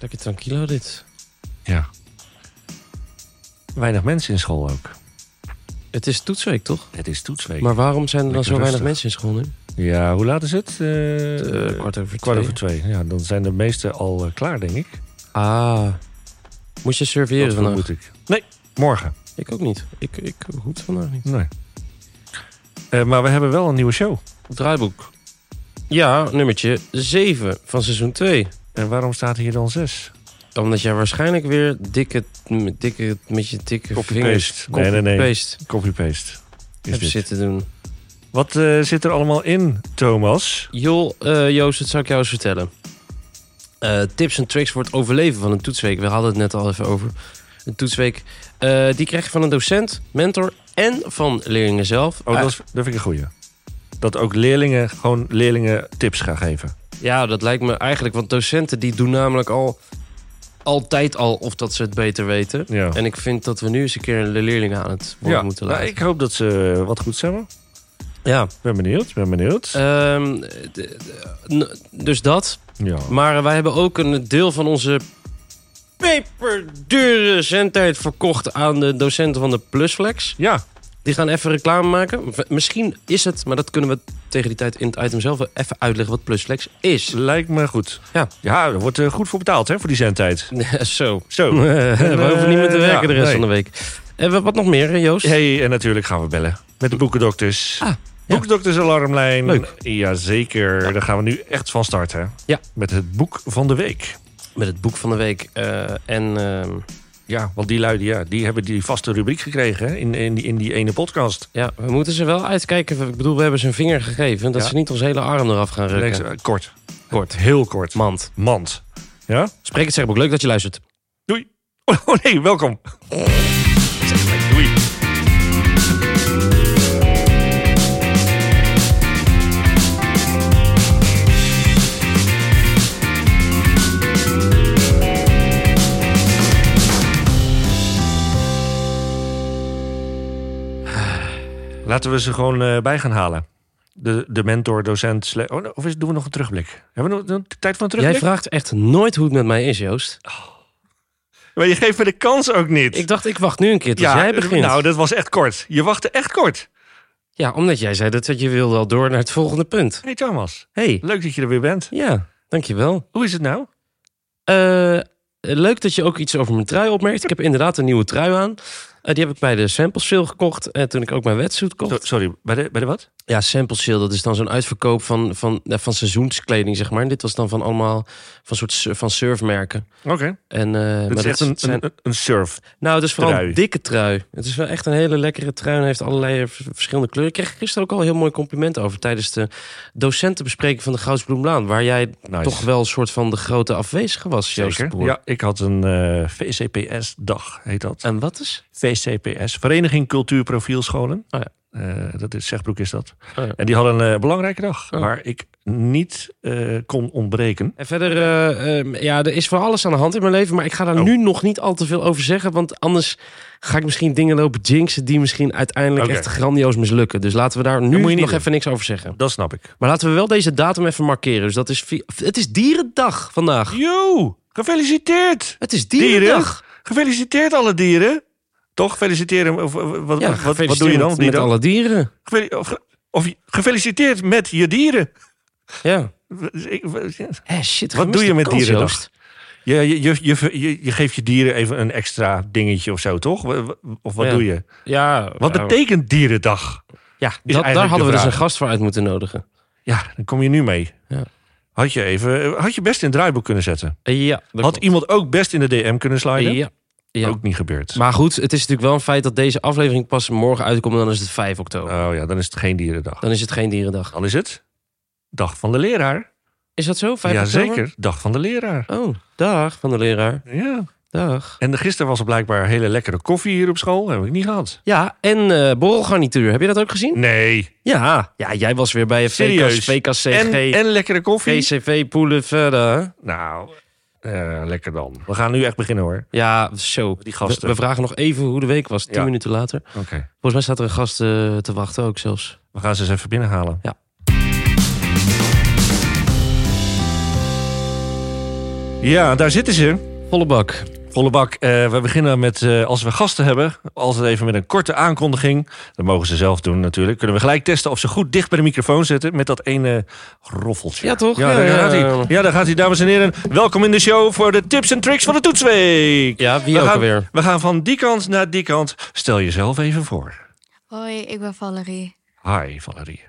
Lekker tranquilo dit. Ja. Weinig mensen in school ook. Het is toetsweek, toch? Het is toetsweek. Maar waarom zijn er dan zo Lekker weinig rustig. mensen in school nu? Ja, hoe laat is het? Eh, Eh, kwart over kwart twee. over twee. Ja, dan zijn de meesten al eh, klaar, denk ik. Ah. Moest je serveren Dat vandaag? moet ik. Nee, morgen. Ik ook niet. Ik, ik hoef het vandaag niet. Nee. Eh, maar we hebben wel een nieuwe show. Draaiboek. Ja, nummertje 7 van seizoen 2. En waarom staat hier dan zes? Omdat jij waarschijnlijk weer dikke, m- dikke, met je dikke Copy-paste. vingers... Nee, nee, nee. copy-paste Copy-paste. Is hebt dit. zitten doen. Wat eh, zit er allemaal in, Thomas? Joh, eh, Joost, dat zou ik jou eens vertellen. Eh, tips en tricks voor het overleven van een toetsweek. We hadden het net al even over. Een toetsweek. Eh, die krijg je van een docent, mentor en van leerlingen zelf. Oh, dat, is, dat vind ik een goeie. Dat ook leerlingen gewoon leerlingen tips gaan geven. Ja, dat lijkt me eigenlijk. Want docenten die doen namelijk al altijd al of dat ze het beter weten. Ja. En ik vind dat we nu eens een keer de leerlingen aan het woord ja. moeten Nou, laten. ik hoop dat ze eh, wat goed zijn. Ja, Ben benieuwd, ben benieuwd. ehm, d- d- n- dus dat. ja. Maar eh, wij hebben ook een deel van onze peperdure zendtijd verkocht aan de docenten van de Plusflex. ja, Die gaan even reclame maken. V- Misschien is het, maar dat kunnen we tegen die tijd in het item zelf wel even uitleggen wat Plusflex is. lijkt me goed. Ja. Ja, er wordt eh, goed voor betaald hè, voor die zendtijd. Zo. Zo. we hoeven niet meer te Eh, werken ja, de rest nee. van de week. En wat- wat nog meer, hè, Joost? Hey, en natuurlijk gaan we bellen met de boekendokters. Ah, ja. Boekendokters Alarmlijn. Leuk. Jazeker, daar gaan we nu echt van starten. hè? Ja. Met het boek van de week. Met het boek van de week. eh, en ehm, Ja, want die luiden, ja, die hebben die vaste rubriek gekregen hè, in, in, die, in die ene podcast. ja, we moeten ze wel uitkijken. Ik bedoel, we hebben ze een vinger gegeven. Dat Ja. ze niet ons hele arm eraf gaan rukken. Denk ze, eh, Kort. Kort. Heel kort. Mand. Mand. Ja? Spreek het zegboek. Leuk dat je luistert. Doei. Oh nee, welkom. Zeg maar Doei. Laten we ze gewoon eh, bij gaan halen. De, de mentor, docent... sle- Oh, nee, of is, doen we nog een terugblik? Hebben we nog nog tijd voor een Jij terugblik? vraagt echt nooit hoe het met mij is, Joost. Maar je geeft me de kans ook niet. Ik dacht, ik wacht nu een keer tot jij begint. Nou, dat was echt kort. Je wachtte echt kort. Ja, omdat jij zei dat, dat je wilde al door naar het volgende punt. Hey Thomas, hey. leuk dat je er weer bent. ja, dankjewel. Hoe is het nou? Eh, leuk dat je ook iets over mijn trui opmerkt. Ik heb inderdaad een nieuwe trui aan. Eh, die heb ik bij de Sample Sale gekocht. En toen ik ook mijn wetsuit kocht. Zo- sorry, bij de, bij de wat? Ja, sample sale, dat is dan zo'n uitverkoop van, van, eh, van seizoenskleding, zeg maar. En dit was dan van allemaal van soort sur- van surfmerken. Oké, En, eh, maar dat is dat echt een, zijn- een, een surf. nou, het is vooral trui. een dikke trui. Het is wel echt een hele lekkere trui en heeft allerlei eh, v- verschillende kleuren. Ik kreeg gisteren ook al een heel mooi compliment over tijdens de docentenbespreking van de Goudsbloemlaan. Waar jij Nice. toch wel een soort van de grote afwezige was, Joost de Zeker. Boer. Ja, ik had een eh, VCPS-dag, heet dat. En wat is? VCPS, Vereniging Cultuur Profielscholen. Oh ja. Eh, dat is Zegbroek is dat. Oh ja. En die hadden een eh, belangrijke dag Oh. waar ik niet eh, kon ontbreken. En verder, eh, eh, ja, er is voor alles aan de hand in mijn leven. Maar ik ga daar Oh. nu nog niet al te veel over zeggen. Want anders ga ik misschien dingen lopen jinxen die misschien uiteindelijk Oké. echt grandioos mislukken. Dus laten we daar nu moet je niet nog doen. even niks over zeggen. Dat snap ik. Maar laten we wel deze datum even markeren. Dus dat is... vi- Het is dierendag vandaag. Jo, gefeliciteerd! Het is dierendag. Gefeliciteerd alle dieren. Toch? Feliciteren. Of, of- wat, Ja, wat, wat gefeliciteerd doe je dan? Met, dieren? met alle dieren. Gefeli- of, ge- of je- gefeliciteerd met je dieren. Ja. Ik- Hé, shit, Wat gemiste doe je met kans, dierendag? Joost. Je, je, je, je, je- je geeft je dieren even een extra dingetje of zo, toch? Wa- wa- Of wat Ja. doe je? Ja, Wat nou, betekent dierendag? ja, dat, eigenlijk daar de hadden we dus een vraag? gast voor uit moeten nodigen. Ja, dan kom je nu mee. Ja. Had je, even, had je best in het draaiboek kunnen zetten. Eh, Ja, dat Had klopt. iemand ook best in de DM kunnen sliden? ja, ja. Ook niet gebeurd. Maar goed, het is natuurlijk wel een feit dat deze aflevering pas morgen uitkomt. en Dan is het 5 oktober. Oh ja, dan is het geen dierendag. Dan is het geen dierendag. Dan is het dag van de leraar. Is dat zo? 5 oktober? Jazeker, dag van de leraar. Oh, dag van de leraar. Ja. Dag. En gisteren was er blijkbaar hele lekkere koffie hier op school. Heb ik niet gehad. Ja, en eh, borrelgarnituur. Heb je dat ook gezien? Nee. Ja. Ja, jij was weer bij een VKS, Serieus? VKCG, En, en lekkere koffie. VCV Poelen verder. Nou, eh, lekker dan. We gaan nu echt beginnen hoor. Ja, zo. Die gasten. We, we vragen nog even hoe de week was, tien Ja. minuten later. Oké. Volgens mij staat er een gast eh, te wachten ook zelfs. We gaan ze eens even binnenhalen. Ja. Ja, daar zitten ze. Volle bak. Volle bak. Eh, we beginnen met, eh, als we gasten hebben, altijd even met een korte aankondiging. Dat mogen ze zelf doen natuurlijk. Kunnen we gelijk testen of ze goed dicht bij de microfoon zitten met dat ene roffeltje. Ja, toch? Ja, Ja, daar ja, gaat ja. hij. Ja, daar gaat hij, dames en heren. Welkom in de show voor de tips en tricks van de Toetsweek. Ja, wie We ook gaan, alweer. we gaan van die kant naar die kant. Stel jezelf even voor. Hoi, ik ben Valerie. Hi, Valerie.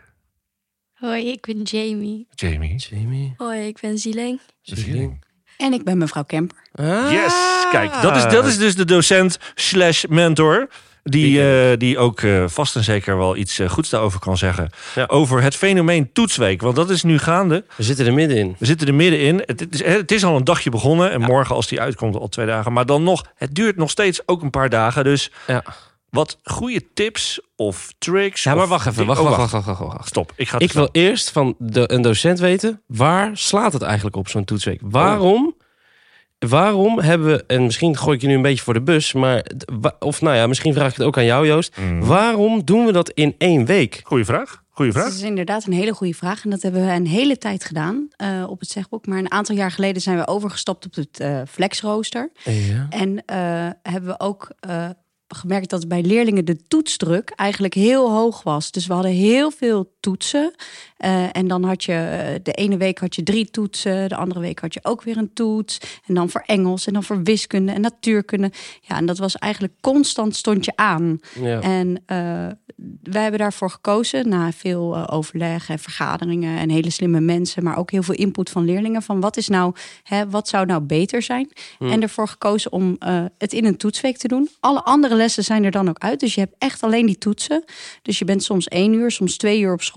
Hoi, ik ben Jamie. Jamie. Jamie. Hoi, ik ben Zieleng. Zieling. En ik ben mevrouw Kemper. Ah. Yes, kijk, dat is, dat is dus de docent slash mentor. Die, eh, die ook eh, vast en zeker wel iets eh, goeds daarover kan zeggen. Ja. Over het fenomeen toetsweek. Want dat is nu gaande. We zitten er middenin. We zitten er middenin. Het, het, is, hè, het is al een dagje begonnen. En morgen als die uitkomt al twee dagen. Maar dan nog, het duurt nog steeds ook een paar dagen. Dus Ja. wat goede tips of tricks. Ja, maar of wacht even. dingen- Wacht, oh, wacht, wacht, wacht, wacht, wacht. Stop, ik ga het Ik wil eerst van de, een docent weten, waar slaat het eigenlijk op zo'n toetsweek? Waarom, waarom hebben we, en misschien gooi ik je nu een beetje voor de bus, maar, d- wa- of nou ja, misschien vraag ik het ook aan jou Joost. Waarom doen we dat in één week? Goeie vraag. Goeie Dat vraag. is inderdaad een hele goede vraag. En dat hebben we een hele tijd gedaan eh, op het zegboek. Maar een aantal jaar geleden zijn we overgestapt op het eh flexrooster. Ja. En eh, hebben we ook eh, gemerkt dat bij leerlingen de toetsdruk eigenlijk heel hoog was. Dus we hadden heel veel toetsen. Eh, en dan had je eh, de ene week had je drie toetsen, de andere week had je ook weer een toets. En dan voor Engels en dan voor wiskunde en natuurkunde. Ja, en dat was eigenlijk constant stond je aan. En eh, wij hebben daarvoor gekozen na veel eh, overleg en vergaderingen en hele slimme mensen, maar ook heel veel input van leerlingen van wat is nou, hè, wat zou nou beter zijn? En ervoor gekozen om eh, het in een toetsweek te doen. Alle andere lessen zijn er dan ook uit, dus je hebt echt alleen die toetsen. Dus je bent soms één uur, soms twee uur op school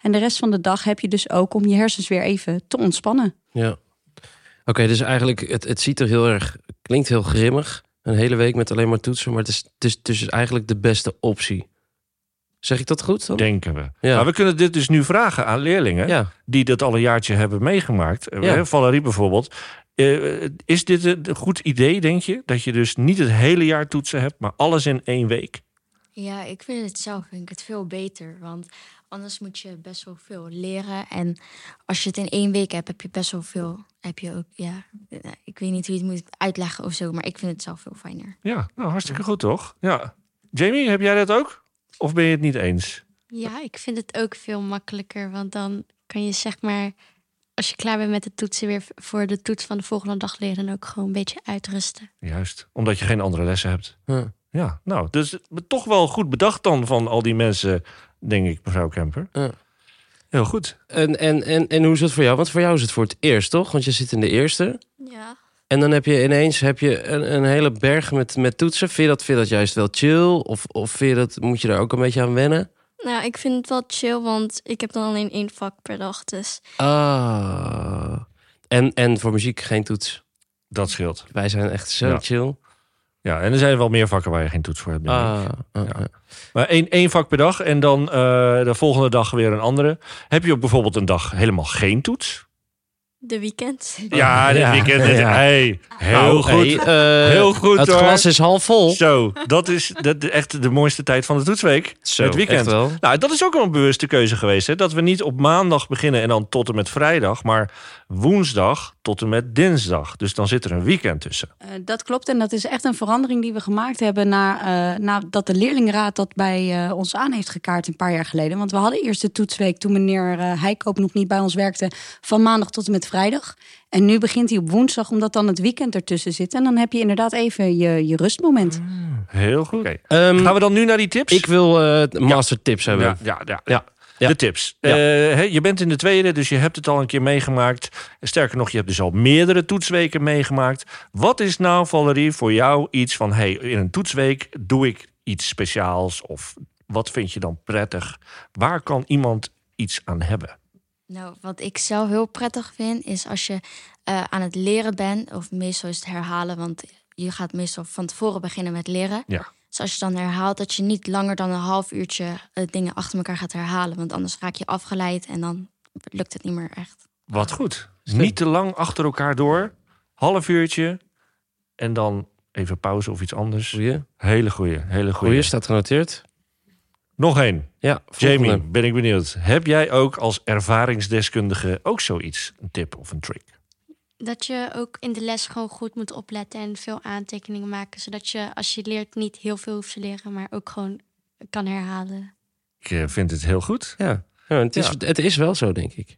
en de rest van de dag heb je dus ook om je hersens weer even te ontspannen. Ja. Oké, dus eigenlijk, het, het ziet er heel erg, klinkt heel grimmig. Een hele week met alleen maar toetsen, maar het is, het is, het is dus eigenlijk de beste optie. Zeg ik dat goed dan? Denken we. Ja. Maar we kunnen dit dus nu vragen aan leerlingen. Ja. die dat al een jaartje hebben meegemaakt. Ja. Eh, Valerie bijvoorbeeld. Eh, is dit een goed idee, denk je? Dat je dus niet het hele jaar toetsen hebt, maar alles in één week? Ja, ik vind het zelf vind ik het veel beter. Want anders moet je best wel veel leren. En als je het in één week hebt, heb je best wel veel. Heb je ook, ja, eh, ik weet niet hoe je het moet uitleggen of zo. Maar ik vind het zelf veel fijner. Ja, nou hartstikke goed toch? Ja. Jamie, heb jij dat ook? Of ben je het niet eens? Ja, ik vind het ook veel makkelijker. Want dan kan je zeg maar, als je klaar bent met de toetsen, weer v- voor de toets van de volgende dag leren. En ook gewoon een beetje uitrusten. Juist, omdat je geen andere lessen hebt. Ja. Ja, nou, dus toch wel goed bedacht dan van al die mensen, denk ik, mevrouw Kemper. Ja. Heel goed. En, en, en, en hoe is het voor jou? Want voor jou is het voor het eerst, toch? Want je zit in de eerste. Ja. En dan heb je ineens heb je een, een hele berg met, met toetsen. Vind je, dat, vind je dat juist wel chill? Of, of vind je dat, moet je daar ook een beetje aan wennen? Nou, ik vind het wel chill, want ik heb dan alleen één vak per dag. Dus Ah. En, en voor muziek geen toets. Dat scheelt. Wij zijn echt zo Ja. chill. Ja, en er zijn wel meer vakken waar je geen toets voor hebt. denk ik. Ah, ah, Ja. ah. Maar één, één vak per dag en dan eh, de volgende dag weer een andere. Heb je op bijvoorbeeld een dag helemaal geen toets? de weekend. Ja, dit Ja. weekend. dit- Ja. hey, heel Nou, goed. hey, eh, heel goed Het hoor. glas is half vol. Zo, dat is dat, echt de mooiste tijd van de toetsweek. Zo, het weekend. echt wel. Nou, dat is ook wel een bewuste keuze geweest. Hè? Dat we niet op maandag beginnen en dan tot en met vrijdag. Maar woensdag tot en met dinsdag. Dus dan zit er een weekend tussen. Eh, dat klopt en dat is echt een verandering die we gemaakt hebben na, eh, nadat de leerlingraad dat bij eh, ons aan heeft gekaart een paar jaar geleden. Want we hadden eerst de toetsweek toen meneer eh Heikoop nog niet bij ons werkte van maandag tot en met vrijdag. En nu begint hij op woensdag omdat dan het weekend ertussen zit. En dan heb je inderdaad even je, je rustmoment. Heel goed. Ehm, Gaan we dan nu naar die tips? Ik wil eh master tips hebben. Ja, ja, ja. Ja. Ja. De tips. Ja. Eh, hè, je bent in de tweede, dus je hebt het al een keer meegemaakt. Sterker nog, je hebt dus al meerdere toetsweken meegemaakt. Wat is nou, Valerie, voor jou iets van... hey, in een toetsweek doe ik iets speciaals... of wat vind je dan prettig? Waar kan iemand iets aan hebben? Nou, wat ik zelf heel prettig vind, is als je eh, aan het leren bent, of meestal is het herhalen, want je gaat meestal van tevoren beginnen met leren. Ja. Dus als je dan herhaalt, dat je niet langer dan een half uurtje eh, dingen achter elkaar gaat herhalen, want anders raak je afgeleid en dan lukt het niet meer echt. Wat goed. Niet te lang achter elkaar door. Half uurtje. En dan even pauze of iets anders. Goeie. Hele goeie. Hele Goeie goeie. staat genoteerd. Nog één. Ja, volgende. Jamie, ben ik benieuwd. Heb jij ook als ervaringsdeskundige ook zoiets? Een tip of een trick? dat je ook in de les gewoon goed moet opletten en veel aantekeningen maken. Zodat je als je leert niet heel veel hoeft te leren, maar ook gewoon kan herhalen. Ik eh, vind het heel goed. Ja, ja, het, is, het is wel zo, denk ik.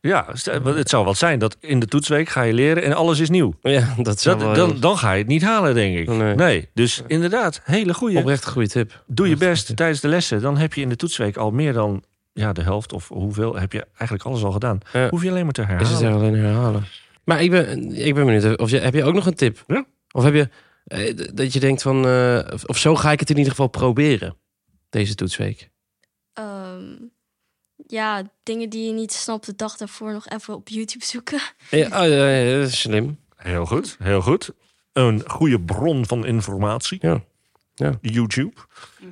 Ja, stel- want het zou wat zijn dat in de toetsweek ga je leren en alles is nieuw. Ja, dat is Dat, wel eh, dan, dan ga je het niet halen, denk ik. Nee. Nee, dus inderdaad, hele een goede. oprecht goede tip. Doe je best tijdens de lessen. Dan heb je in de toetsweek al meer dan ja, de helft of hoeveel heb je eigenlijk alles al gedaan. Ja. Hoef je alleen maar te Is herhalen. het er alleen herhalen. Maar ik ben, ik ben benieuwd, of je, heb je ook nog een tip? Ja. Of heb je eh, d- dat je denkt van, eh, of- of zo ga ik het in ieder geval proberen, deze toetsweek. Ehm, ja, dingen die je niet snapt de dag daarvoor nog even op YouTube zoeken. Ja, oh, ja, ja, dat is slim. Heel goed, heel goed. Een goede bron van informatie. Ja. Ja. YouTube.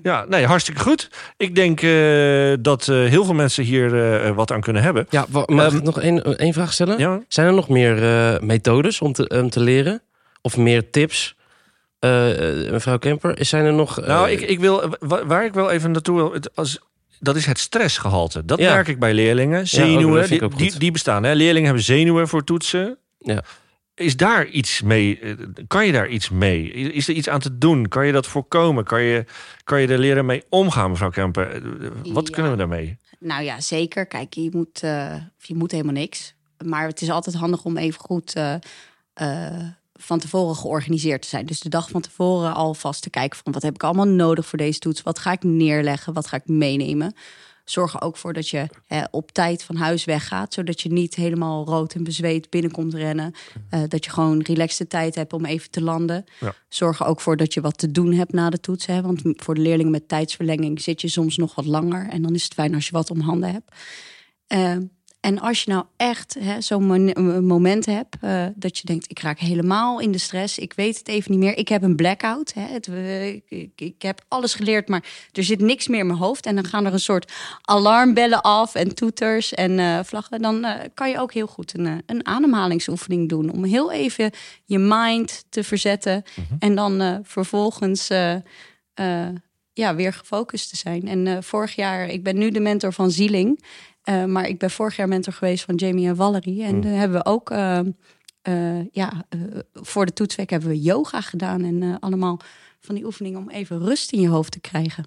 Ja, nee, hartstikke goed. Ik denk eh, dat eh, heel veel mensen hier eh, wat aan kunnen hebben. Ja, wa- mag ik Ehm, nog één één vraag stellen? Ja, Zijn er nog meer eh, methodes om te, om te leren? Of meer tips? Eh, eh, mevrouw Kemper, is- zijn er nog... eh, Nou, ik, ik wil, wa- waar ik wel even naartoe wil, het- als, dat is het stressgehalte. Dat Ja. merk ik bij leerlingen. ook, Zenuwen, dat vind ik die, ook die, goed. die bestaan. Hè? Leerlingen hebben zenuwen voor toetsen. Ja. Is daar iets mee? eh, Kan je daar iets mee? Is is er iets aan te doen? Kan je dat voorkomen? Kan je, kan je er leren mee omgaan, mevrouw Kemper? Eh, eh, Wat Ja. kunnen we daarmee? Nou ja, zeker. Kijk, je moet, eh, of je moet helemaal niks. Maar het is altijd handig om even goed eh, eh, van tevoren georganiseerd te zijn. Dus de dag van tevoren alvast te kijken van wat heb ik allemaal nodig voor deze toets? Wat ga ik neerleggen? Wat ga ik meenemen? Zorg er ook voor dat je eh, op tijd van huis weggaat, zodat je niet helemaal rood en bezweet binnenkomt rennen. Eh, dat je gewoon relaxte tijd hebt om even te landen. Ja. Zorg er ook voor dat je wat te doen hebt na de toets. Hè? Want m- voor de leerlingen met tijdsverlenging zit je soms nog wat langer. En dan is het fijn als je wat om handen hebt. Eh, en als je nou echt hè, zo'n mon- een moment hebt eh, dat je denkt: ik raak helemaal in de stress, ik weet het even niet meer, ik heb een blackout, hè, het, eh, ik, ik, ik heb alles geleerd, maar er zit niks meer in mijn hoofd. En dan gaan er een soort alarmbellen af en toeters en eh, vlaggen. Dan eh, kan je ook heel goed een, eh, een ademhalingsoefening doen om heel even je mind te verzetten Mhm. en dan eh, vervolgens. eh, eh, ja, weer gefocust te zijn. En eh, vorig jaar, ik ben nu de mentor van Zieling. eh, maar ik ben vorig jaar mentor geweest van Jamie en Valerie. Mhm. En daar hebben we ook, eh, eh, ja, eh, voor de toetsweek hebben we yoga gedaan. En eh, allemaal van die oefeningen om even rust in je hoofd te krijgen.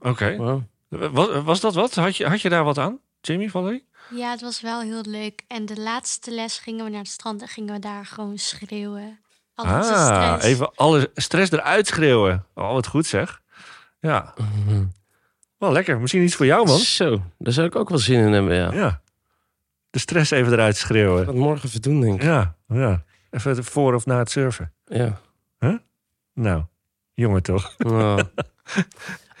Oké. Wow. Was, was dat wat? Had je, had je daar wat aan? Jamie, Valerie? Ja, het was wel heel leuk. En de laatste les gingen we naar het strand en gingen we daar gewoon schreeuwen. Al onze stress. Ah, even alle stress eruit schreeuwen. Oh, wat goed zeg. Ja. Wel lekker. Misschien iets voor Oh, jou, man. Zo, daar zou ik ook wel zin in hebben, ja. Ja. De stress even eruit schreeuwen. Wat morgen even doen, denk ik. Ja, ja. Even voor of na het surfen. Ja. Nou, jongen toch. Oh.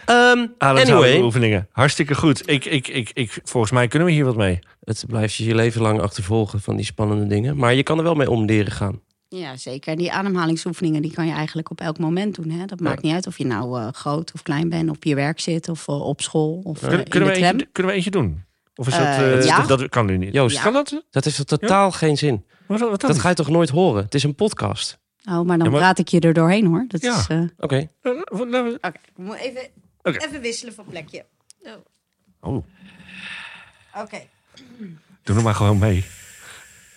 Ehm, Ademhaling anyway, oefeningen. Hartstikke goed. Ik, ik, ik, ik, volgens mij kunnen we hier wat mee. het blijft dus je je leven lang achtervolgen van die spannende dingen. Maar je kan er wel mee om leren gaan. Ja, zeker. En die ademhalingsoefeningen die kan je eigenlijk op elk moment doen. Hè? Dat maakt niet uit of je nou eh, groot of klein bent, op je werk zit of eh, op school of eh, Kun- in kunnen, de we tram. eentje, kunnen we eentje doen? Of is dat, Eh, eh, ja. dat... dat kan nu niet. Joost, Ja. Kan dat? dat heeft toch totaal geen zin. Wat, wat dan? Dat ga je toch nooit horen? Het is een podcast. Oh, maar dan Ja, maar- raad ik je er doorheen hoor. Dat Ja. is... eh, Oké. Eh, wat- laten we- Oké, we moeten even, Oké. even wisselen van plekje. Oh, Oké. doe er maar gewoon mee.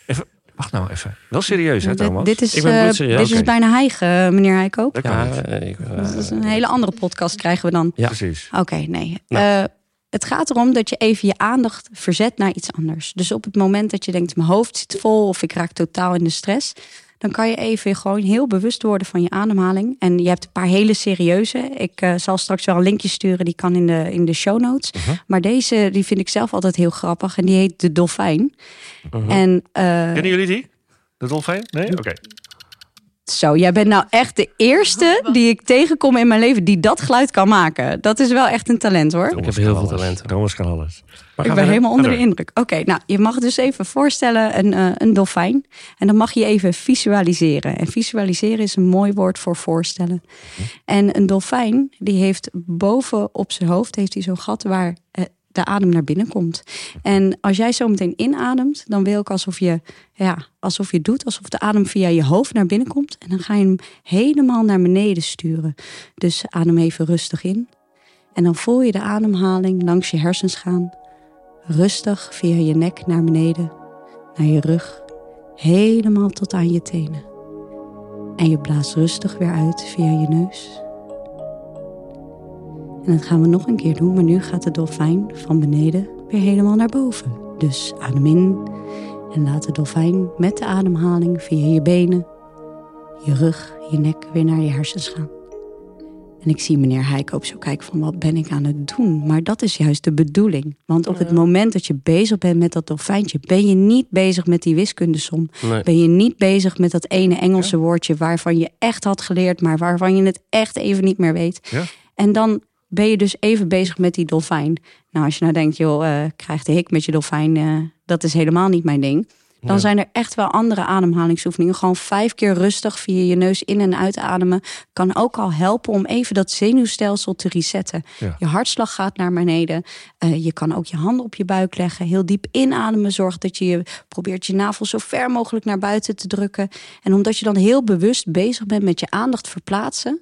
Even, wacht nou even. Wel serieus, hè, Thomas? dit is, Ik ben eh, bloedserieus. dit is Oké. bijna heigen, eh, meneer Heikoop. Dat kan Ja, niet. eh, ik, eh, Dat is een hele andere podcast krijgen we dan. ja. Precies. Oké, nee. Eh, het gaat erom dat je even je aandacht verzet naar iets anders. Dus op het moment dat je denkt, mijn hoofd zit vol of ik raak totaal in de stress. Dan kan je even gewoon heel bewust worden van je ademhaling. En je hebt een paar hele serieuze. Ik eh, zal straks wel een linkje sturen, die kan in de, in de show notes. Maar deze die vind ik zelf altijd heel grappig. En die heet De Dolfijn. En eh, Kennen jullie die? De dolfijn? Nee? Oké. Zo, jij bent nou echt de eerste die ik tegenkom in mijn leven die dat geluid kan maken. Dat is wel echt een talent hoor. heb heel veel talenten. Thomas kan alles. Maar Ik gaan ben we- helemaal onder de verder. indruk. Oké, nou, je mag dus even voorstellen een, eh, een dolfijn. En dan mag je even visualiseren. En visualiseren is een mooi woord voor voorstellen. En een dolfijn, die heeft boven op zijn hoofd heeft hij zo'n gat waar eh, de adem naar binnen komt. En als jij zo meteen inademt, dan wil ik alsof je, ja, alsof je doet alsof de adem via je hoofd naar binnen komt. En dan ga je hem helemaal naar beneden sturen. Dus adem even rustig in. En dan voel je de ademhaling langs je hersens gaan. Rustig via je nek naar beneden, naar je rug helemaal tot aan je tenen. En je blaast rustig weer uit via je neus. En dat gaan we nog een keer doen, maar nu gaat de dolfijn van beneden weer helemaal naar boven. Dus adem in en laat de dolfijn met de ademhaling via je benen, je rug, je nek weer naar je hersens gaan. En ik zie meneer Heik ook zo kijken van wat ben ik aan het doen. Maar dat is juist de bedoeling. Want op het moment dat je bezig bent met dat dolfijntje... ben je niet bezig met die wiskundesom. Nee. Ben je niet bezig met dat ene Engelse woordje... waarvan je echt had geleerd, maar waarvan je het echt even niet meer weet. Ja. En dan ben je dus even bezig met die dolfijn. Nou, als je nou denkt, joh, eh, krijg de hik met je dolfijn... eh, dat is helemaal niet mijn ding. Dan Ja. zijn er echt wel andere ademhalingsoefeningen. Gewoon vijf keer rustig via je neus in- en uitademen kan ook al helpen om even dat zenuwstelsel te resetten. Ja. Je hartslag gaat naar beneden. Eh, je kan ook je handen op je buik leggen. Heel diep inademen. Zorg dat je, je probeert je navel zo ver mogelijk naar buiten te drukken. En omdat je dan heel bewust bezig bent met je aandacht verplaatsen,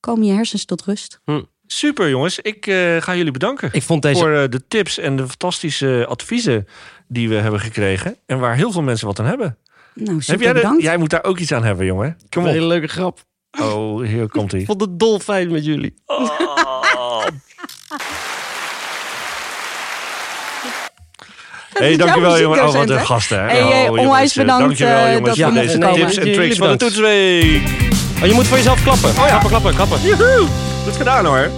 komen je hersens tot rust. Super jongens, ik eh, ga jullie bedanken. Ik vond deze Voor eh, de tips en de fantastische adviezen die we hebben gekregen. En waar heel veel mensen wat aan hebben. Nou, Heb super jij, de- bedankt. jij moet daar ook iets aan hebben, jongen. Kom een op. hele leuke grap. Oh, hier komt Ik hij. vond het dolfijn met jullie. Hey, dankjewel jongen. Oh, wat een gast hè. Hey, hey, Oh, jongens, onwijs eh, bedankt, eh, Dankjewel jongens dat voor we deze mochten tips komen. en tricks van de Jullie toetsweek. Oh, je moet voor jezelf klappen. ja. Klappen, klappen, klappen. Joehoe. Goed gedaan hoor.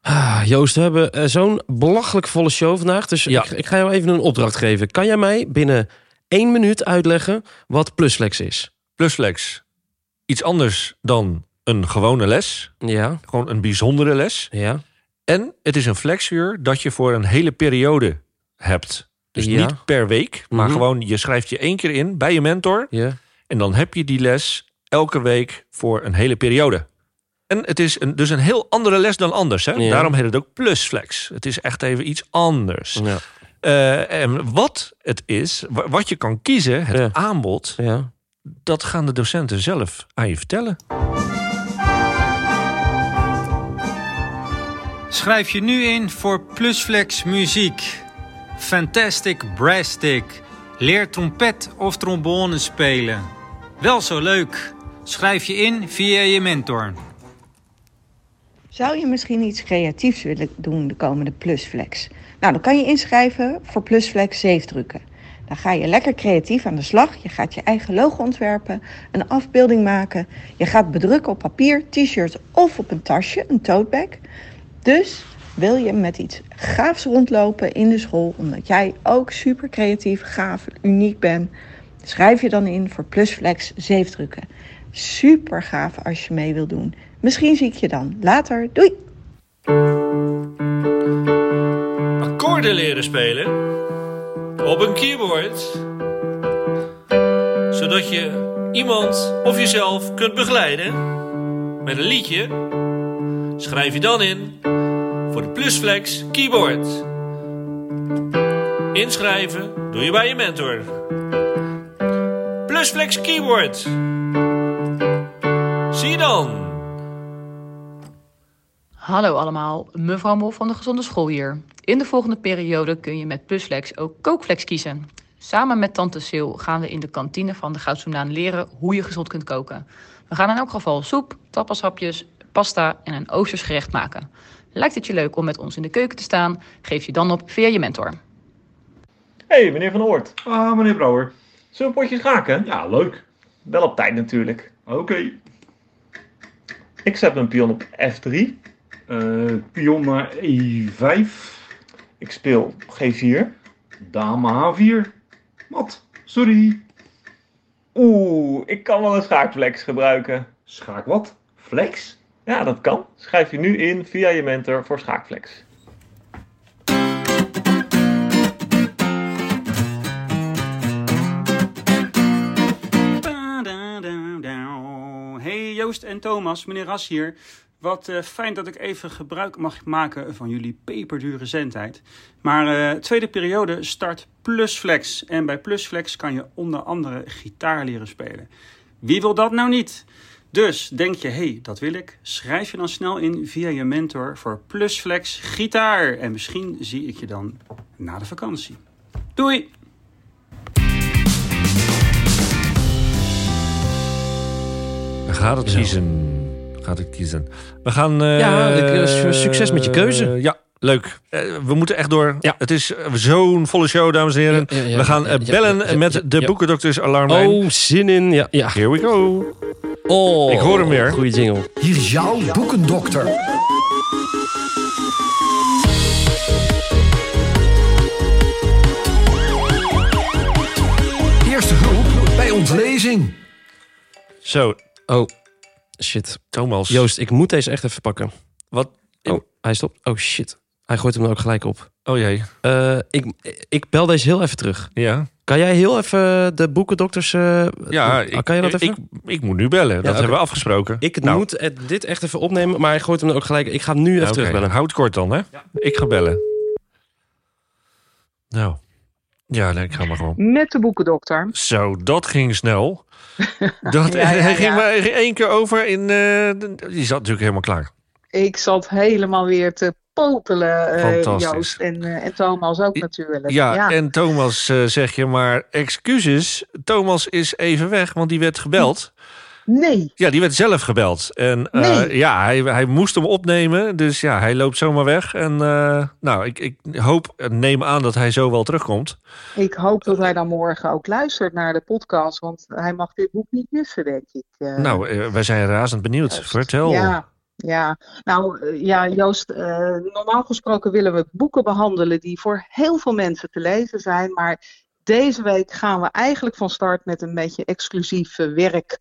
Ah, Joost, we hebben eh, zo'n belachelijk volle show vandaag. Dus Ja. ik, ik ga jou even een opdracht geven. Kan jij mij binnen één minuut uitleggen wat pluslex is? Plusflex. Iets anders dan een gewone les. Ja, Gewoon een bijzondere les. ja. En het is een flexuur dat je voor een hele periode hebt. Dus Ja. niet per week, maar Mhm. gewoon je schrijft je één keer in bij je mentor. ja. En dan heb je die les elke week voor een hele periode. En het is een, dus een heel andere les dan anders. Hè? Ja. Daarom heet het ook plusflex. Het is echt even iets anders. ja. Eh, en wat het is, wa- wat je kan kiezen, het Ja. aanbod, ja. dat gaan de docenten zelf aan je vertellen. Schrijf je nu in voor Plusflex Muziek. Fantastic Brasstic. Leer trompet of trombone spelen. Wel zo leuk. Schrijf je in via je mentor. Zou je misschien iets creatiefs willen doen de komende Plusflex? Nou, dan kan je inschrijven voor Plusflex zeefdrukken. Dan ga je lekker creatief aan de slag. Je gaat je eigen logo ontwerpen, een afbeelding maken. Je gaat bedrukken op papier, t-shirts of op een tasje, een tote bag. Dus wil je met iets gaafs rondlopen in de school, omdat jij ook super creatief, gaaf, uniek bent, schrijf je dan in voor Plusflex zeefdrukken. Super gaaf als je mee wilt doen. Misschien zie ik je dan later. Doei! akkoorden leren spelen op een keyboard, zodat je iemand of jezelf kunt begeleiden met een liedje. Schrijf je dan in voor de Plusflex Keyboard. Inschrijven doe je bij je mentor. Plusflex Keyboard. Zie je dan. Hallo allemaal, mevrouw Mol van de Gezonde School hier. In de volgende periode kun je met Plusflex ook kookflex kiezen. Samen met Tante Sil gaan we in de kantine van de Goudsoenaan leren hoe je gezond kunt koken. We gaan in elk geval soep, tapashapjes, pasta en een oosters gerecht maken. Lijkt het je leuk om met ons in de keuken te staan? Geef je dan op via je mentor. hey, meneer Van Oort. Ah, meneer Brouwer. Zullen we een potje schaken? Ja, leuk. Wel op tijd natuurlijk. Oké. Ik zet mijn pion op F3. Eh, pion naar E E5. Ik speel G4. Dame H4. Mat, sorry. Oeh, ik kan wel een schaakflex gebruiken. Schaak wat? Flex? Ja, dat kan. Schrijf je nu in via je mentor voor schaakflex. Hey Joost en Thomas, meneer Ras hier. Wat eh, fijn dat ik even gebruik mag maken van jullie peperdure zendtijd. Maar eh tweede periode start Plusflex. En bij Plusflex kan je onder andere gitaar leren spelen. Wie wil dat nou niet? Dus denk je, hé, hey, dat wil ik. Schrijf je dan snel in via je mentor voor Plusflex Gitaar. En misschien zie ik je dan na de vakantie. Doei! Dan gaat het kiezen. Dan Gaat het kiezen. We gaan. eh, Ja, ik, eh, su- succes met je keuze. eh, ja, leuk. Eh, we moeten echt door. Ja. Het is eh, zo'n volle show, dames en heren. Ja, ja, ja, we gaan eh, ja, ja, bellen ja, ja, met ja, de ja. boekendokters alarmlijn. Oh, zin in. Ja, ja. Here we go. Oh, Ik hoor hem weer. Goeie jingle. Hier is jouw boekendokter. Eerste hulp bij ontlezing. Zo, Oh, shit. Thomas. Joost, ik moet deze echt even pakken. Wat? Oh, hij stopt. Oh, shit. Hij gooit hem dan ook gelijk op. Oh jee. Eh, ik, ik bel deze heel even terug. Ja. Kan jij heel even de boekendokters... eh, Ja, eh, kan je dat even? Ik, ik moet nu bellen. dat oké. hebben we afgesproken. Ik Nou. moet eh, dit echt even opnemen, maar hij gooit hem dan ook gelijk. Ik ga hem nu even Oké, terugbellen. Houd kort dan, hè? Ik ga bellen. Nou. Ja, nee, ik ga maar gewoon. Met de boekendokter. Zo, dat ging snel. Dat, Ja, ja, Hij ging ja. maar één keer over in... eh, de- die zat natuurlijk helemaal klaar. Ik zat helemaal weer te popelen, eh, Fantastisch. Joost en, eh, en Thomas ook natuurlijk. Ja, en Thomas eh, zeg je maar excuses. Thomas is even weg, want die werd gebeld. Nee, Ja, die werd zelf gebeld. En eh, Nee. ja, hij, hij moest hem opnemen. Dus ja, hij loopt zomaar weg. En eh, nou, ik, ik hoop, eh, neem aan dat hij zo wel terugkomt. ik hoop dat hij dan morgen ook luistert naar de podcast, want hij mag dit boek niet missen, denk ik. eh. Nou, eh, wij zijn razend benieuwd. Vertel. Ja, ja. Nou eh, ja, Joost, eh, normaal gesproken willen we boeken behandelen die voor heel veel mensen te lezen zijn. Maar deze week gaan we eigenlijk van start met een beetje exclusief eh, werk.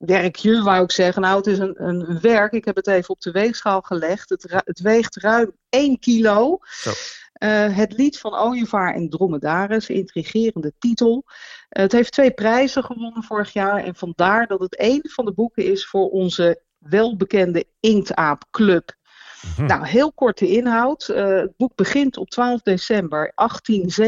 Werkje, wou ik zeggen. Nou, het is een, een werk. Ik heb het even op de weegschaal gelegd. Het, ru- het weegt ruim 1 kilo. Zo. Eh, het lied van Ooievaar en Dromedaris, intrigerende titel. Eh, het heeft twee prijzen gewonnen vorig jaar. En vandaar dat het een van de boeken is voor onze welbekende Inktaap Club. Nou, heel kort de inhoud. Eh, het boek begint op 12 december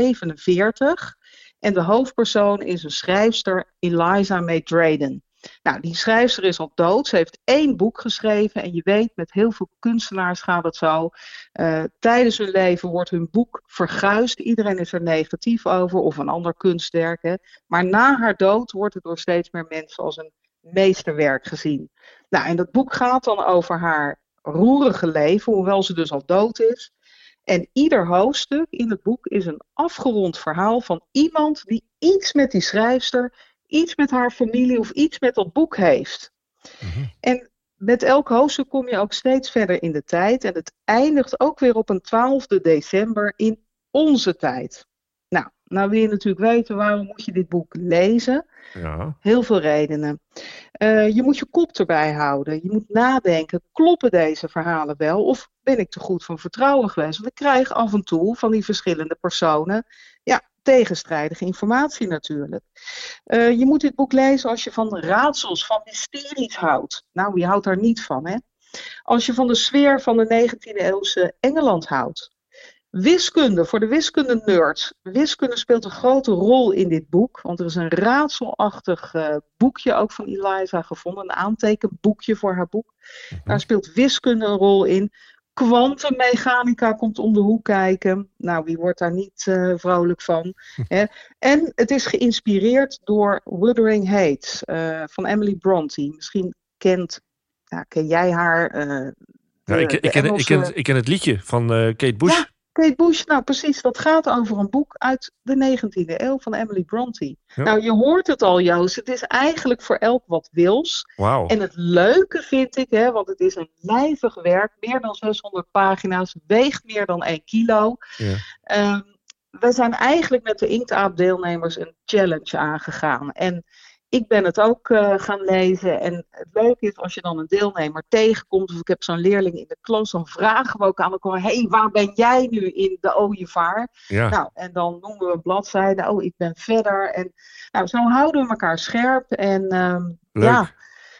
1847. En de hoofdpersoon is een schrijfster, Eliza May Drayden. Nou, die schrijfster is al dood. Ze heeft één boek geschreven. En je weet, met heel veel kunstenaars gaat het zo. Eh, tijdens hun leven wordt hun boek verguisd. Iedereen is er negatief over, of een ander kunstwerk. Hè. Maar na haar dood wordt het door steeds meer mensen als een meesterwerk gezien. Nou, en dat boek gaat dan over haar roerige leven, hoewel ze dus al dood is. En ieder hoofdstuk in het boek is een afgerond verhaal van iemand die iets met die schrijfster, iets met haar familie of iets met dat boek heeft. En met elk hoofdstuk kom je ook steeds verder in de tijd. En het eindigt ook weer op een 12 december in onze tijd. Nou, nou wil je natuurlijk weten waarom moet je dit boek lezen. Ja. Heel veel redenen. Eh, je moet je kop erbij houden. Je moet nadenken: kloppen deze verhalen wel? Of ben ik te goed van vertrouwen geweest? Want ik krijg af en toe van die verschillende personen ja, tegenstrijdige informatie natuurlijk. Eh, je moet dit boek lezen als je van raadsels, van mysteries houdt. Nou, wie houdt daar niet van, hè? Als je van de sfeer van de 19e-eeuwse Engeland houdt. Wiskunde, voor de wiskunde-nerds. Wiskunde speelt een grote rol in dit boek. Want er is een raadselachtig eh, boekje ook van Eliza gevonden. Een aantekenboekje voor haar boek. Daar speelt wiskunde een rol in. Quantummechanica komt om de hoek kijken. Nou, wie wordt daar niet eh, vrolijk van? Hè? En het is geïnspireerd door Wuthering Heights eh, van Emily Brontë. Misschien kent, ja, ken jij haar. eh, Ja, de- ik, de ik, ken, ik, Engelse- ken, ik ken het liedje van eh, Kate Bush. Ja. Kate Bush, nou precies, dat gaat over een boek uit de 19e eeuw van Emily Brontë. Ja. Nou, je hoort het al, Joost. Het is eigenlijk voor elk wat wils. Wauw. En het leuke vind ik, hè, want het is een lijvig werk, meer dan 600 pagina's, weegt meer dan 1 kilo. Ja. Ehm, we zijn eigenlijk met de Inktaap deelnemers een challenge aangegaan. En ik ben het ook eh, gaan lezen. En het leuke is als je dan een deelnemer tegenkomt, of ik heb zo'n leerling in de klas, dan vragen we ook aan elkaar: hé, hey, waar ben jij nu in de ooievaar? Ja. Nou, en dan noemen we een bladzijde. Oh, ik ben verder. En nou, zo houden we elkaar scherp. En ehm, Leuk. ja,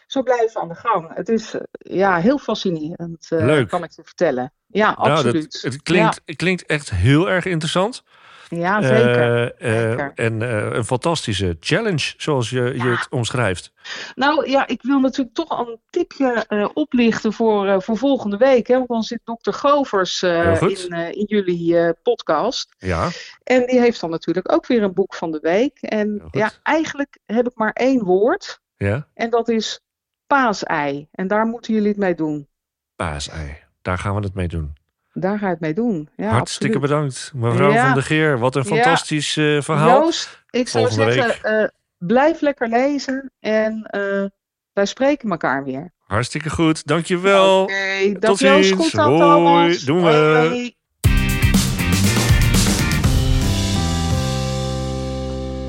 zo blijven we aan de gang. Het is eh, ja, heel fascinerend, eh, Leuk. kan ik je vertellen. Ja, Nou, dat- absoluut. het, klinkt, het klinkt echt heel erg interessant. Ja, Ah, zeker. Eh, eh, En eh, een fantastische challenge, zoals je, je het omschrijft. Nou ja, ik wil natuurlijk toch al een tipje eh, oplichten voor, eh, voor volgende week. Hè, want dan zit dokter Govers eh, Heel goed. in, eh, in jullie eh, podcast. Ja. En die heeft dan natuurlijk ook weer een boek van de week. En ja, eigenlijk heb ik maar één woord. Ja. En dat is paasei. En daar moeten jullie het mee doen. Paasei. Daar gaan we het mee doen. Daar ga je het mee doen. Ja, Hartstikke absoluut. bedankt, mevrouw Ja. van de Geer. Wat een Ja. fantastisch eh, verhaal. Joost, ik zou Volgende week. zeggen, eh, blijf lekker lezen. En eh, wij spreken elkaar weer. Hartstikke goed. Dankjewel. Oké, Tot dag Joost. ziens. Goed dan, Hoi. Thomas. Doen we. Hoi, hoi.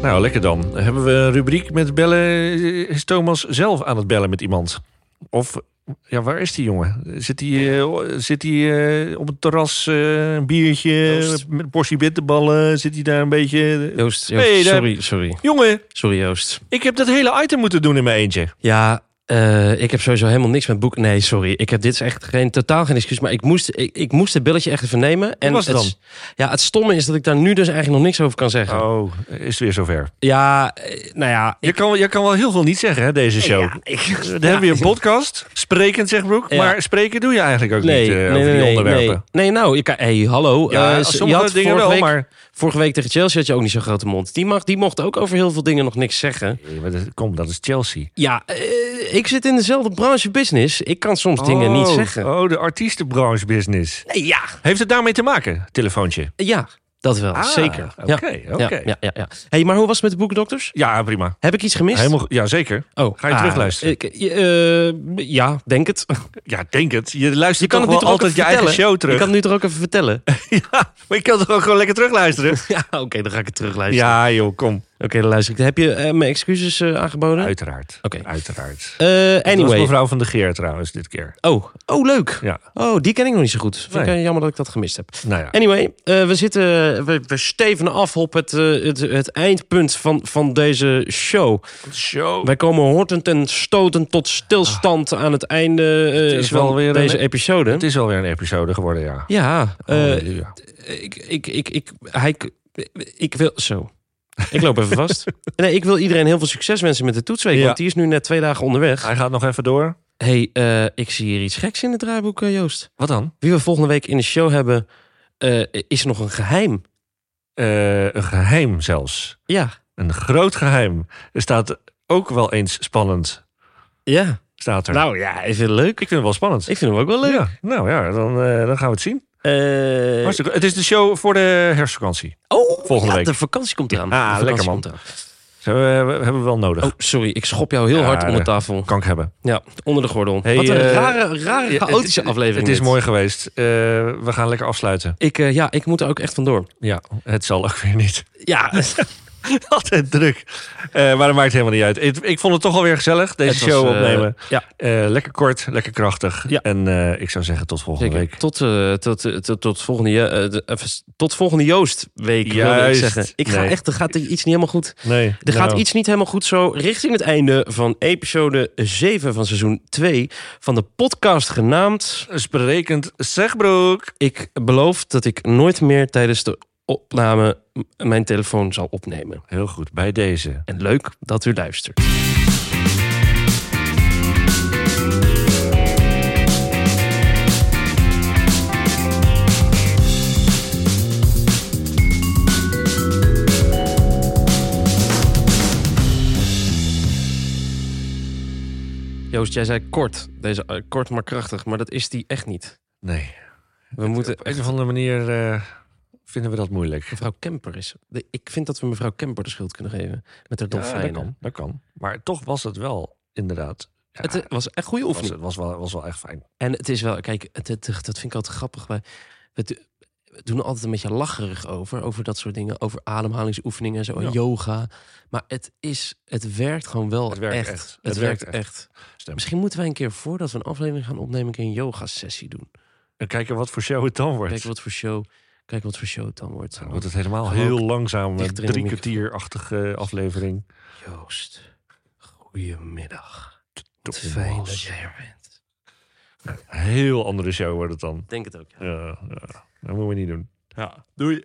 Nou, lekker dan. Dan Hebben we een rubriek met bellen? Is Thomas zelf aan het bellen met iemand? Of, ja, waar is die jongen? Zit hij zit hij eh, op het terras, eh, een biertje, met een portie bitterballen? Zit hij daar een beetje... Joost, Joost, Nee, daar- sorry, sorry. Jongen, Sorry, Joost. ik heb dat hele item moeten doen in mijn eentje. Ja, eh, ik heb sowieso helemaal niks met boeken. Nee, sorry. Ik heb dit is echt geen, totaal geen excuus. Maar ik moest, ik, ik moest het billetje echt even nemen. En was het dan? Ja, het stomme is dat ik daar nu dus eigenlijk nog niks over kan zeggen. Oh, is het weer zover? Ja, eh, nou ja. Je kan, je kan wel heel veel niet zeggen, hè, deze show. Dan heb je een podcast, sprekend zegt Broek. Ja. Maar spreken doe je eigenlijk ook Nee, niet eh, nee, over nee, die nee, onderwerpen. nee. Nee, nou, je kan, hey, hallo. Ja, Eh, sommige je had dingen vorige wel, week, maar- Vorige week tegen Chelsea had je ook niet zo'n grote mond. Die, mag, die mocht ook over heel veel dingen nog niks zeggen. Nee, maar dat- Kom, dat is Chelsea. Ja, eh, ik zit in dezelfde branche business. Ik kan soms dingen niet Oh, zeggen. Oh, de artiestenbranche business. Nee, ja, Heeft het daarmee te maken, telefoontje? ja, dat wel, Ah, zeker. Oké, Ja. oké. Ja, ja, ja, ja. Hey, maar hoe was het met de boekendokters? Ja, prima. Heb ik iets gemist? Helemaal, go- ja, zeker. Oh, Ga je ah, terugluisteren? ik- eh, eh, ja, denk het. Ja, denk het. Je Je luistert kan toch het nu wel toch ook altijd even je eigen vertellen? show terug. Je kan het nu toch ook even vertellen? ja, maar je kan toch ook gewoon lekker terugluisteren? ja, oké, dan ga ik het terugluisteren. Ja, joh, kom. Oké, dan luister ik. Heb je eh, mijn excuses eh, aangeboden? Uiteraard. Oké. Uiteraard. Eh, Dat was anyway. mevrouw van de Geer trouwens dit keer. Oh, oh, leuk. Ja. Oh, die ken ik nog niet zo goed. Vind Nee. ik eh, jammer dat ik dat gemist heb. Nou ja. Anyway, eh, we, zitten, we, we stevenen af op het, eh, het, het eindpunt van, van deze show. Show. Wij komen hortend en stotend tot stilstand aan het einde eh, is van wel weer een- deze episode. Het is alweer een episode geworden, ja. Oh, Ja, eh, Halleluja. ik, ik, ik, ik, hij, ik wil... Zo, ik loop even vast. Nee, ik wil iedereen heel veel succes wensen met de toetsweek. Ja. Want die is nu net twee dagen onderweg. Hij gaat nog even door. hey, eh, ik zie hier iets geks in het draaiboek, eh, Joost. Wat dan? Wie we volgende week in de show hebben, eh, is nog een geheim. Eh, een geheim zelfs. Ja, Een groot geheim. Er staat ook wel eens spannend. ja. Staat er. Nou ja, ik vind het leuk. ik vind het wel spannend. Ik vind hem ook wel leuk. Ja, nou ja, dan, eh, dan gaan we het zien. Eh, Hartstikke- Het is de show voor de herfstvakantie. oh, volgende ja, week. de vakantie komt eraan. Ja, ah, De vakantie lekker, man. komt eraan. Zo, eh, we hebben we wel nodig. Oh, sorry, ik schop jou heel Ja, hard onder de- tafel. Kan ik hebben. Ja, onder de gordel. Hey, Wat een eh, rare, rare, Ja, chaotische het- aflevering. Het is dit. mooi geweest. Eh, we gaan lekker afsluiten. Ik, eh, ja, ik moet er ook echt vandoor. Ja, het zal ook weer niet. Ja, Altijd druk. Eh, maar dat maakt helemaal niet uit. Ik, ik vond het toch alweer gezellig, deze het was, show eh, opnemen. ja, Eh, lekker kort, lekker krachtig. Ja. En eh, ik zou zeggen tot volgende zeker. week. Tot, eh, tot, eh, tot, tot volgende, je- eh, de- even s- tot volgende Joost week, wilde ik Juist. zeggen. Ik ga Nee. echt, er gaat iets niet helemaal goed. Nee, Er gaat iets niet helemaal goed zo richting het einde van episode 7 van seizoen 2 van de podcast genaamd. Sprekend zegbroek. Ik beloof dat ik nooit meer tijdens de opname m- mijn telefoon zal opnemen. Heel goed, bij deze. En leuk dat u luistert. Joost, jij zei kort. Deze, eh, kort maar krachtig, maar dat is die echt niet. Nee. We moeten Op een echt... of andere manier eh, vinden we dat moeilijk. Mevrouw Kemper is... de- Ik vind dat we mevrouw Kemper de schuld kunnen geven. Met haar Ja, dat dolfijnen. kan, dat kan. Maar toch was het wel inderdaad. Ja, Het eh, was echt goede was, oefening. het was, wel, was wel echt fijn. En het is wel, kijk, het, het- dat vind ik altijd grappig. Bij, we, do- we doen er altijd een beetje lacherig over, over dat soort dingen, over ademhalingsoefeningen en zo, en Ja. yoga. Maar het is, het werkt gewoon wel Het werkt echt. echt. Het, werkt, echt. Stem. Misschien moeten wij een keer voordat we een aflevering gaan opnemen, een keer een yoga sessie doen. En kijken wat voor show het dan wordt. Kijken wat voor show, kijken wat voor show het dan wordt. Dan wordt Nou, het helemaal Gewoon heel ook langzaam. Een dichter in de drie kwartierachtige aflevering. Joost, goedemiddag. Wat Thomas. fijn dat jij er bent. Heel andere show wordt het dan. Ik Denk het ook. ja. Ja, ja. Dat moeten we niet doen. Ja, doei.